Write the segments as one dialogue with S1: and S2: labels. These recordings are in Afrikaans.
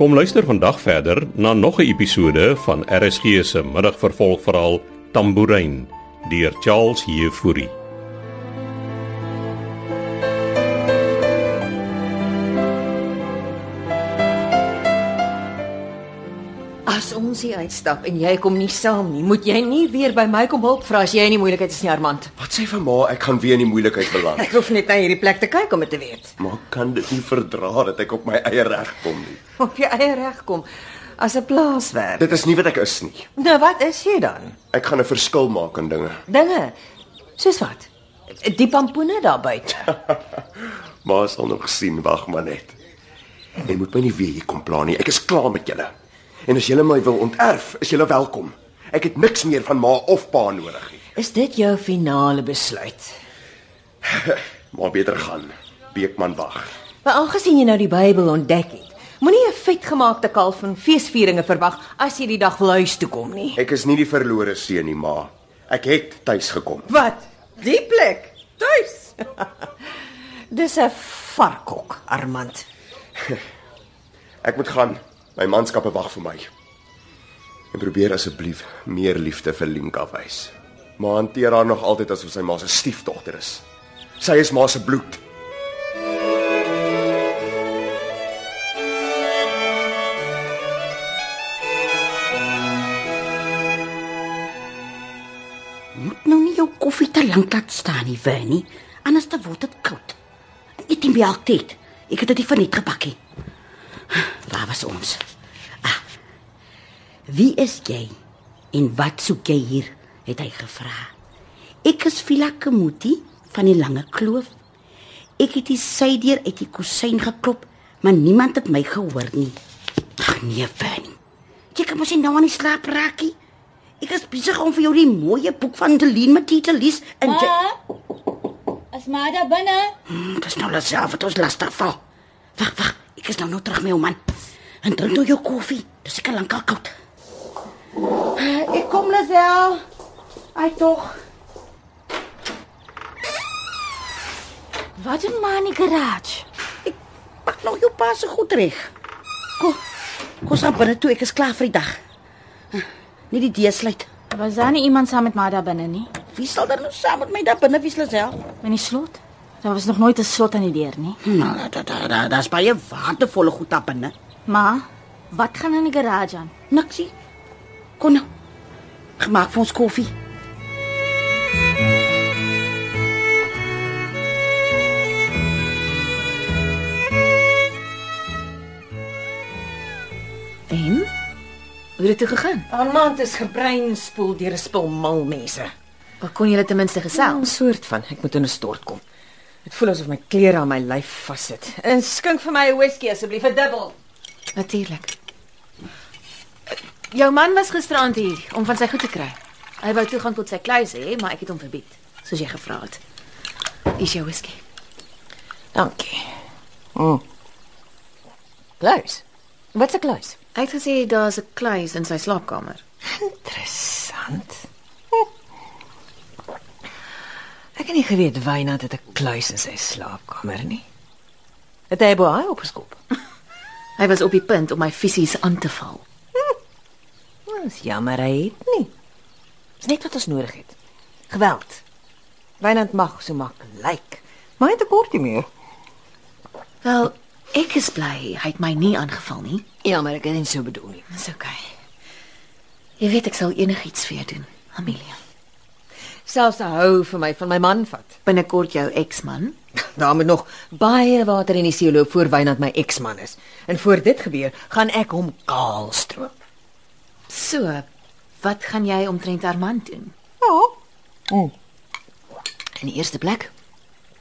S1: Kom luister vandag verder na nog 'n episode van RSG se middagvervolgverhaal Tambourine deur Charles Heffury.
S2: As ons hier uitstap en jy kom nie saam nie, moet jy nie weer by my kom hulp vra as jy in die moeilikheid is nie, Armand.
S3: Wat sê vir ma, ek gaan weer in die moeilikheid beland.
S2: Ek hoef net na hierdie plek te kyk om dit te weet.
S3: Maar kan dit nie verdra dat ek op my eie reg kom nie.
S2: Op jou eie reg kom as 'n plaaswerk.
S3: Dit is nie wat ek is nie.
S2: Nou wat is jy dan?
S3: Ek gaan 'n verskil maak in dinge.
S2: Dinge. Soos wat? Die pampoene daar buite.
S3: Ma sal nog sien, wag maar net. Jy moet my nie weer hier kom pla nie. Ek is klaar met julle. En as julle my wil onterf, is julle welkom. Ek het niks meer van ma of pa nodig nie.
S2: Is dit jou finale besluit?
S3: Maar beter gaan. Beekman wag.
S2: Maar aangesien jy nou die Bybel ontdek het, moenie 'n vetgemaakte kalf van feesvieringe verwag as jy die dag wil huis toe kom nie.
S3: Ek is nie die verlore seun nie, ma. Ek het tuis gekom.
S2: Wat? Die plek? Tuis. Dis 'n varkhok, Armand.
S3: Ek moet gaan. My manskappe wag vir my. En probeer asseblief meer liefde vir Linka wys. Maar hanteer haar nog altyd asof sy ma se stiefdogter is. Sy is ma se bloed.
S4: Moet nou nie jou koffie te lank laat staan nie, Winnie, anders dan word dit koud. Eet die melk tyd. Ek het dit nie verniet gebakkie. Waar was ons? Ah. Wie is jy en wat soek jy hier? het hy gevra. Ek is Vila Kemuti van die Lange Kloof. Ek het die sydeur uit die kusyn geklop, maar niemand het my gehoor nie. Ag nee, Winnie. Jy kan mos nie nou aan die slaap raakie. Ek is besig om vir jou die mooie boek van Deline Matthee te lees en jy
S5: Ma, is maar daar binne.
S4: Hmm, Dis nou laself wat ons lastig val. Wag, wag, ek is nou nou terug met jou man. En drink nou jou koffie. Dis seker lankal koud. Ek kom laself. Ai tog.
S5: Wat doen maar in die garage?
S4: Ek pak nou jou pa se goed reg. Kom. Kom saam binne toe, ek is klaar vir die dag. Nie die deur sluit.
S5: Was daar nie iemand saam met my daar binne nie?
S4: Wie sal dan nou saam met my daar binne wees laself?
S5: In die slot? Daar was nog nooit 'n slot aan die deur nie.
S4: Nou, da da da, da's baie waardevolle goed daar binne.
S5: Ma, wat gaan in die garage aan?
S4: Niksie. Kom nou. Gemaak vir ons koffie.
S2: En
S6: Hoe het dit toe gegaan?
S2: Armand is gebreinspoel deur 'n spul mal mense.
S6: Wat kon julle ten minste
S2: Een
S6: gesels?
S2: soort van, ek moet in 'n stort kom. Dit voel asof my klere aan my lyf vaszit. En skink vir my 'n whisky asseblief, 'n dubbel.
S6: Natuurlik. Eh, Jou man was gisteraand hier om van sy goed te kry. Hy wou toegang tot sy kluis hê, maar ek het hom verbied, soos jy gevra het. Is jou whisky?
S2: Dankie. Mm. Kluis. Wat 'n kluis?
S6: Hy het gesê daar's 'n kluis in sy slaapkamer.
S2: Interessant. Hm. Ek het nie geweet Wynand het 'n kluis in sy slaapkamer nie. Het hy baie opgeskop.
S6: Hy was op die punt om my fisies aan te val.
S2: Ons Nou, jammer hy het nie. Dis net wat ons nodig het. Geweld. Wynand mag so maak lyk, like, maar hy het 'n kortie meer.
S6: Wel, ek is bly hy het my nie aangeval nie.
S2: Ja, maar ek het nie so bedoel nie.
S6: Dis oukei. Okay. Jy weet ek sal enigiets vir jou doen, Amelia.
S2: Selfs hy hou vir my van my man vat.
S6: Binnekort jou eksman.
S2: Daar moet nog baie water in die see loop voor Wynand my eksman is. En voor dit gebeur, gaan ek hom kaal stroop.
S6: So, wat gaan jy omtrent Armand doen?
S2: Ja. Oh. In die eerste plek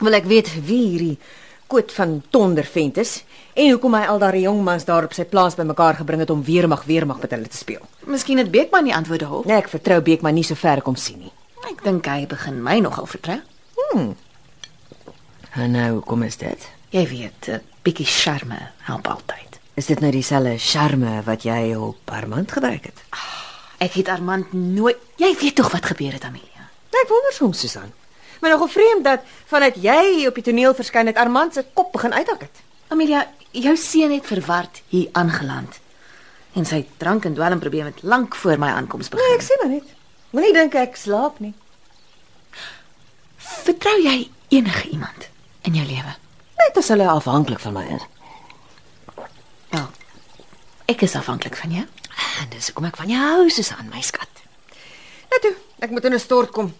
S2: wil ek weet wie hierdie koot van Tondervent is en hoekom hy al daardie jong mans daar op sy plaas bymekaar gebring het om weermag weermag met hulle te speel.
S6: Miskien het Beekman die antwoord daarop.
S2: Nee, ek vertrou Beekman nie so ver kom sien nie.
S6: Ek dink hy begin my nogal vertrou.
S2: En nou, hoekom is dit?
S6: Jy weet,
S4: eh,
S6: 'n bietjie charme help altyd.
S2: Is dit nou dieselfde charme wat jy op Armand gebruik het?
S6: Ek het Armand nooit Jy weet tog wat gebeur het, Amelia.
S2: Nou, Ek wonder soms, Susan. Maar nogal vreemd dat vanuit jy op die toneel verskyn het Armand se kop begin uithak het.
S6: Amelia,
S4: jou seun het verward hier aangeland. En sy drank en dwelmprobleme het lank voor my aankoms begin.
S2: Nee, ek sê maar net. Moenie dink ek slaap nie.
S4: Vertrou jy enige iemand in jou lewe?
S2: Net as hulle afhanklik van my is.
S4: Wel, ek is afhanklik van jou.
S2: Ah, En dis hoekom ek van jou hou, Susan, my skat. Nou toe, ek moet in 'n stort kom.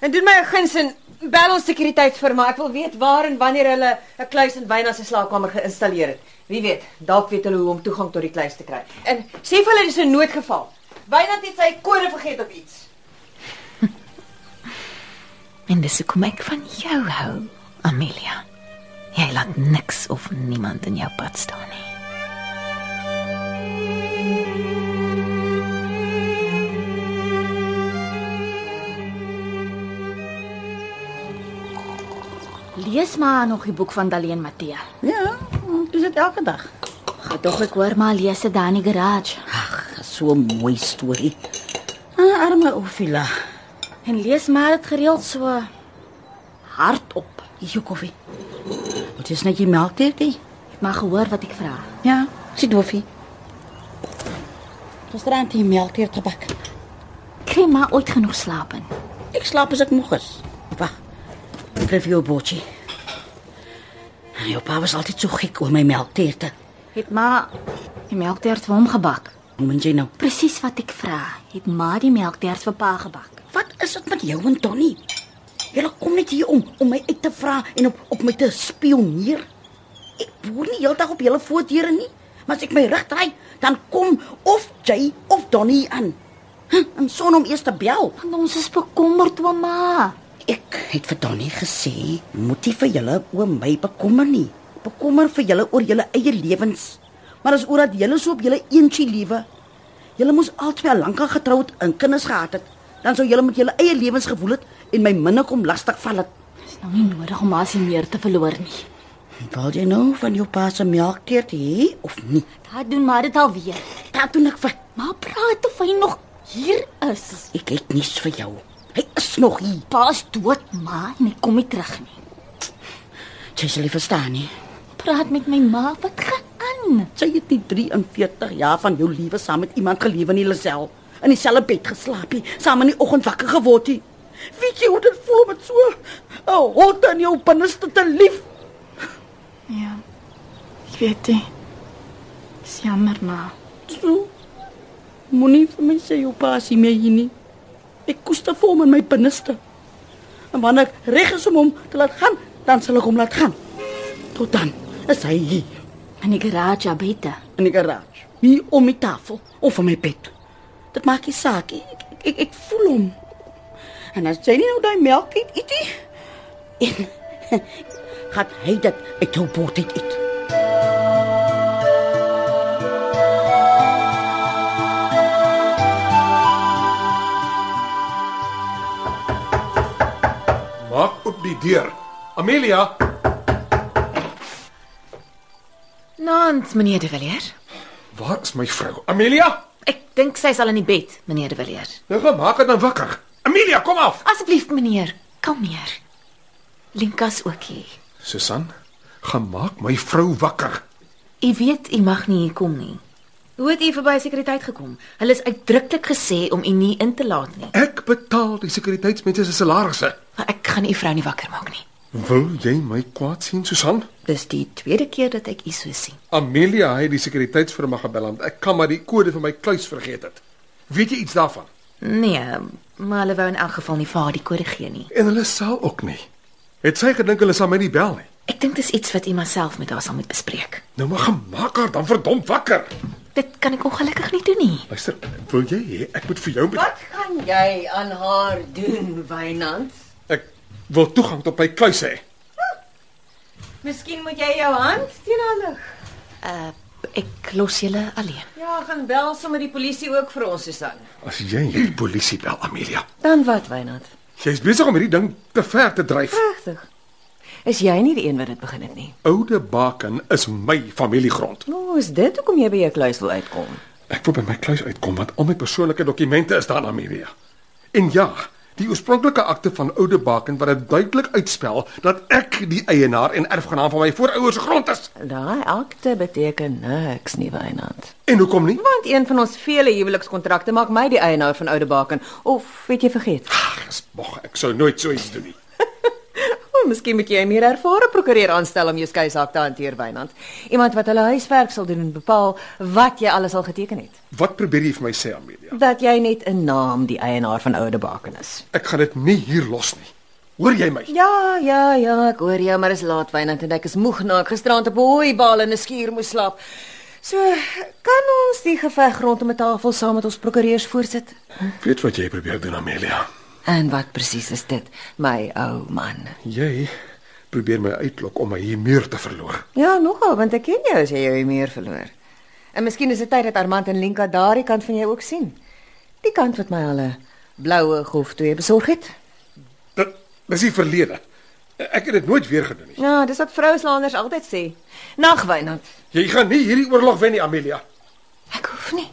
S2: En doen my 'n guns en bel ons sekuriteit vir my. Ek wil weet waar en wanneer hulle 'n kluis in Wyn as 'n slaapkamer geïnstalleer het. Wie weet, dalk weet hulle hoe om toegang tot die kluis te kry. En sê vir hulle dis 'n noodgeval. Wynand het sy kode vergeet op iets.
S4: En dis hoekom ek van jou hou, Amelia. Jy laat niks of niemand in jou pad staan nie.
S6: Lees maar nog die boek van Daleen Matthee.
S7: Ja, dis dit elke dag.
S6: Gedog ek hoor maar lees dit daar in die garage.
S7: Ag, so 'n mooi storie. Ah, arme Ophila.
S6: En lees maar dit gereeld so
S7: Hardop. Hier jou koffie. Wat is net jy melk dit? hè?
S6: Ek mag gehoor wat ek vra.
S7: Ja, sit doffie. Gisterand die melk hier gebak.
S6: Kry maar ooit genoeg slaap in.
S7: Ek slaap as ek moeg is. Wag. Ek gee vir jou 'n botjie. Jou pa was altyd so gek oor my melkteerte.
S6: Het maar die melktert vir hom gebak.
S7: Hoe meen jy nou?
S6: Presies wat ek vra. Het maar die melktert vir pa gebak.
S7: Wat is dit met jou en Donnie? Julle kom net hier om om my uit te vra en op op my te spioneer. Ek boer nie heeltag op julle voordeure nie, maar as ek my rug draai, dan kom of jy of Donnie aan. Hm, en son om eers te bel.
S6: Want ons is bekommerd oor ma.
S7: Ek het vir Donnie gesê, moet nie vir julle oor my bekommer nie. Bekommer vir julle oor julle eie lewens. Maar as oor dat julle so op julle eentjie lewe. Julle moes albei al lank al getroud en kinders gehad het. Dan sou julle met julle eie lewens gevoel het en my minder kom lastig val het.
S6: Dis nou nie nodig om ma se meer te verloor nie.
S7: Wil jy nou van jou pa se melkteert hê of nie?
S6: Daar doen maar dit alweer.
S7: Dit doen ek vir.
S6: Ma praat of hy nog hier is.
S7: Ek het niks vir jou. Hy is nog hier.
S6: Pa is dood, ma, en hy kom nie terug nie.
S7: Jy sal nie verstaan nie.
S6: Praat met my ma, wat gaan aan?
S7: Sy het nie 43 jaar van jou lewe saam met iemand gelewe nie, Lisel. In dieselfde bed geslaap nie, saam in die oggend wakker geword nie. Weet jy hoe dit voel om met so 'n hond in jou binneste te lief?
S6: Ja. Ek weet dit. Dis jammer, ma.
S7: So. Moenie vir my sê jou pa sien my hier nie. Ek koester vir hom in my binneste. En wanneer ek reg is om hom te laat gaan, dan sal ek hom laat gaan. Tot dan is hy hier
S6: In die garage buite.
S7: in die garage, hier om die tafel of in my bed. Dit maak nie saak nie. Ek, ek ek ek voel hom. En as jy nie nou daai melk eet, eet nie. Gaan hy dit uit jou bord uit eet.
S3: Maak oop die deur. Amelia,
S4: Nant, meneer De Villiers.
S3: waar is my vrou? Amelia,
S4: Ek dink sy is al in die bed, meneer De Villiers.
S3: nou gemaak het dan wakker. Amelia, kom af.
S4: Asseblief, meneer, kalmeer. Linkas ook hier.
S3: Susan, gemaak my vrou wakker.
S4: U weet u mag nie hier kom nie. Hoe het u verby sekuriteit gekom? Hulle is uitdruklik gesê om u nie in te laat nie.
S3: Ek betaal die sekuriteitsmense se salarisse.
S4: Maar ek gaan u vrou nie wakker maak nie.
S3: Wil jy my kwaad sien, Susan?
S4: Dis die tweede keer dat ek u so sien.
S3: Amelia het die sekuriteitsfirma gebel want ek kan maar die kode vir my kluis vergeet het. Weet jy iets daarvan?
S4: Nee, maar hulle wou in elk geval nie vir haar die kode gee nie.
S3: En hulle sal ook nie. Het sy gedink hulle sal my nie bel nie.
S4: Ek dink dis iets wat u myself met haar sal moet bespreek.
S3: Nou maar gemaak haar dan verdomp wakker.
S4: Dit kan ek ongelukkig nie doen nie.
S3: Luister, wil jy hê ek moet vir jou betaal?
S2: Wat gaan jy aan haar doen, Wynand?
S3: Ek wil toegang tot my kluis hê.
S2: Miskien moet jy jou hand teen haar lig.
S4: Uh ek los julle alleen.
S2: Ja, gaan bel sommer die polisie ook vir ons, Susan.
S3: As jy die polisie bel, Amelia,
S2: Dan wat, Wynand?
S3: jy's besig om hierdie ding te ver te dryf.
S2: Pragtig. Is jy nie die een wat dit begin het nie?
S3: Oude Baken is my familiegrond.
S2: Nou, is dit hoekom jy by jou kluis wil uitkom?
S3: Ek wil by my kluis uitkom want al my persoonlike dokumente is daar, Amelia. En ja, Die oorspronklike akte van Oude Baken wat dit duidelik uitspel dat ek die eienaar en erfgenaam van my voorouers se grond is.
S2: Daai akte beteken niks nie, Wynand.
S3: En hoekom nie?
S2: Want een van ons vele huwelikskontrakte maak my die eienaar van Oudebaken. Of weet jy vergeet?
S3: Mag ek sou nooit so iets doen nie.
S2: O, miskien moet jy 'n meer ervare prokureur aanstel om jou skeisaak te hanteer, Wynand. Iemand wat hulle huiswerk sal doen en bepaal wat jy alles al geteken het.
S3: Wat probeer jy vir my sê, Amelia?
S2: Dat jy net 'n naam die eienaar van Oudebaken is.
S3: Ek gaan dit nie hier los nie. Hoor jy my?
S2: Ja, ja, ja, ek hoor jou, maar is laat Wynand en ek is moeg na ek gisterand op 'n hooibaal in 'n skuur moes slaap. So, kan ons die geveg rondom 'n tafel saam met ons prokureurs voorsit?
S3: Ek weet wat jy probeer doen, Amelia.
S2: En wat presies is dit, my ou man?
S3: Jy probeer my uitlok om my hier meer te verloor.
S2: Ja, nogal, want ek ken jou as jy jou humeur verloor. En miskien is dit tyd dat Armand en Lenka daardie kant van jou ook sien. Die kant wat my hulle bloue golf toe besorg het.
S3: Dit dis die verlede. Ek het dit nooit weer gedoen nie.
S2: Ja, dis wat vrouslaanders altyd sê. Nag, Wynand.
S3: Jy gaan nie hierdie oorlog wen nie, Amelia.
S2: Ek hoef nie.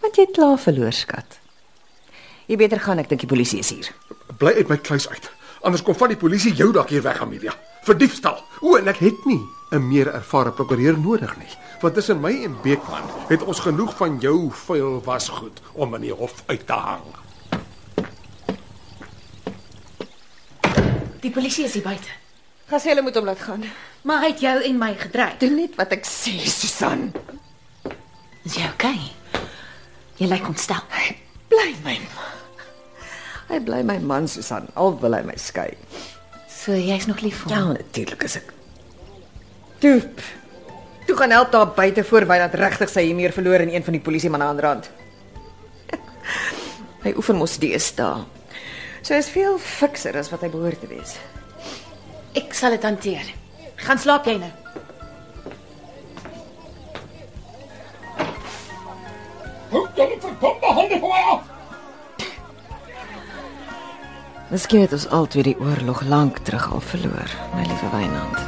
S2: Want jy het klaar verloor, skat. Jy beter gaan, ek dink die polisie is hier.
S3: Bly uit my kluis uit. Anders kom van die polisie jou dalk hier weg, Amelia. Vir diefstal. O, en ek het nie 'n meer ervare prokureur nodig nie. Want tussen my en Beekman het ons genoeg van jou vuil wasgoed om in die hof uit te hang.
S4: Die polisie is hier buite.
S2: Gaan sê hulle moet hom laat gaan.
S4: Maar hy het jou en my gedreig.
S2: Doen net wat ek sê, Susan.
S4: Is jy okay? Jy lyk ontstel.
S2: Bly my man. Hy bly my man, Susan, al wil hy my skei.
S4: So jy's nog lief vir
S2: Ja,
S4: hom.
S2: natuurlik is ek. Toe. Toe gaan help daar buite voor by dat regtig sy hier meer verloor in een van die polisie manne aan die rand. hy oefen mos die is daar. So hy is veel fikser as wat hy behoort te wees.
S4: Ek sal dit hanteer. Gaan slaap jy nou.
S3: Hou dan verdomme hande van my af.
S2: Miskien het ons altyd die oorlog lank terug al verloor, my liewe Wynand.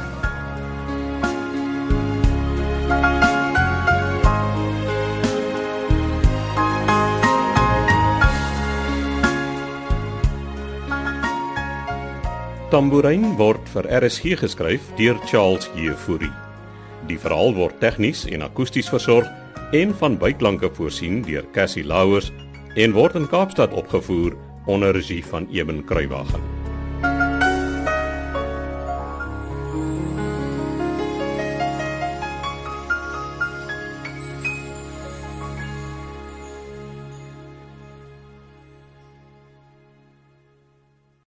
S1: Tambourin word vir RSG geskryf deur Charles Jefouri. Die verhaal word tegnies en akoesties versorg en van byklanke voorsien deur Cassie Louws en word in Kaapstad opgevoer onder regie van Eben Kruiwagen.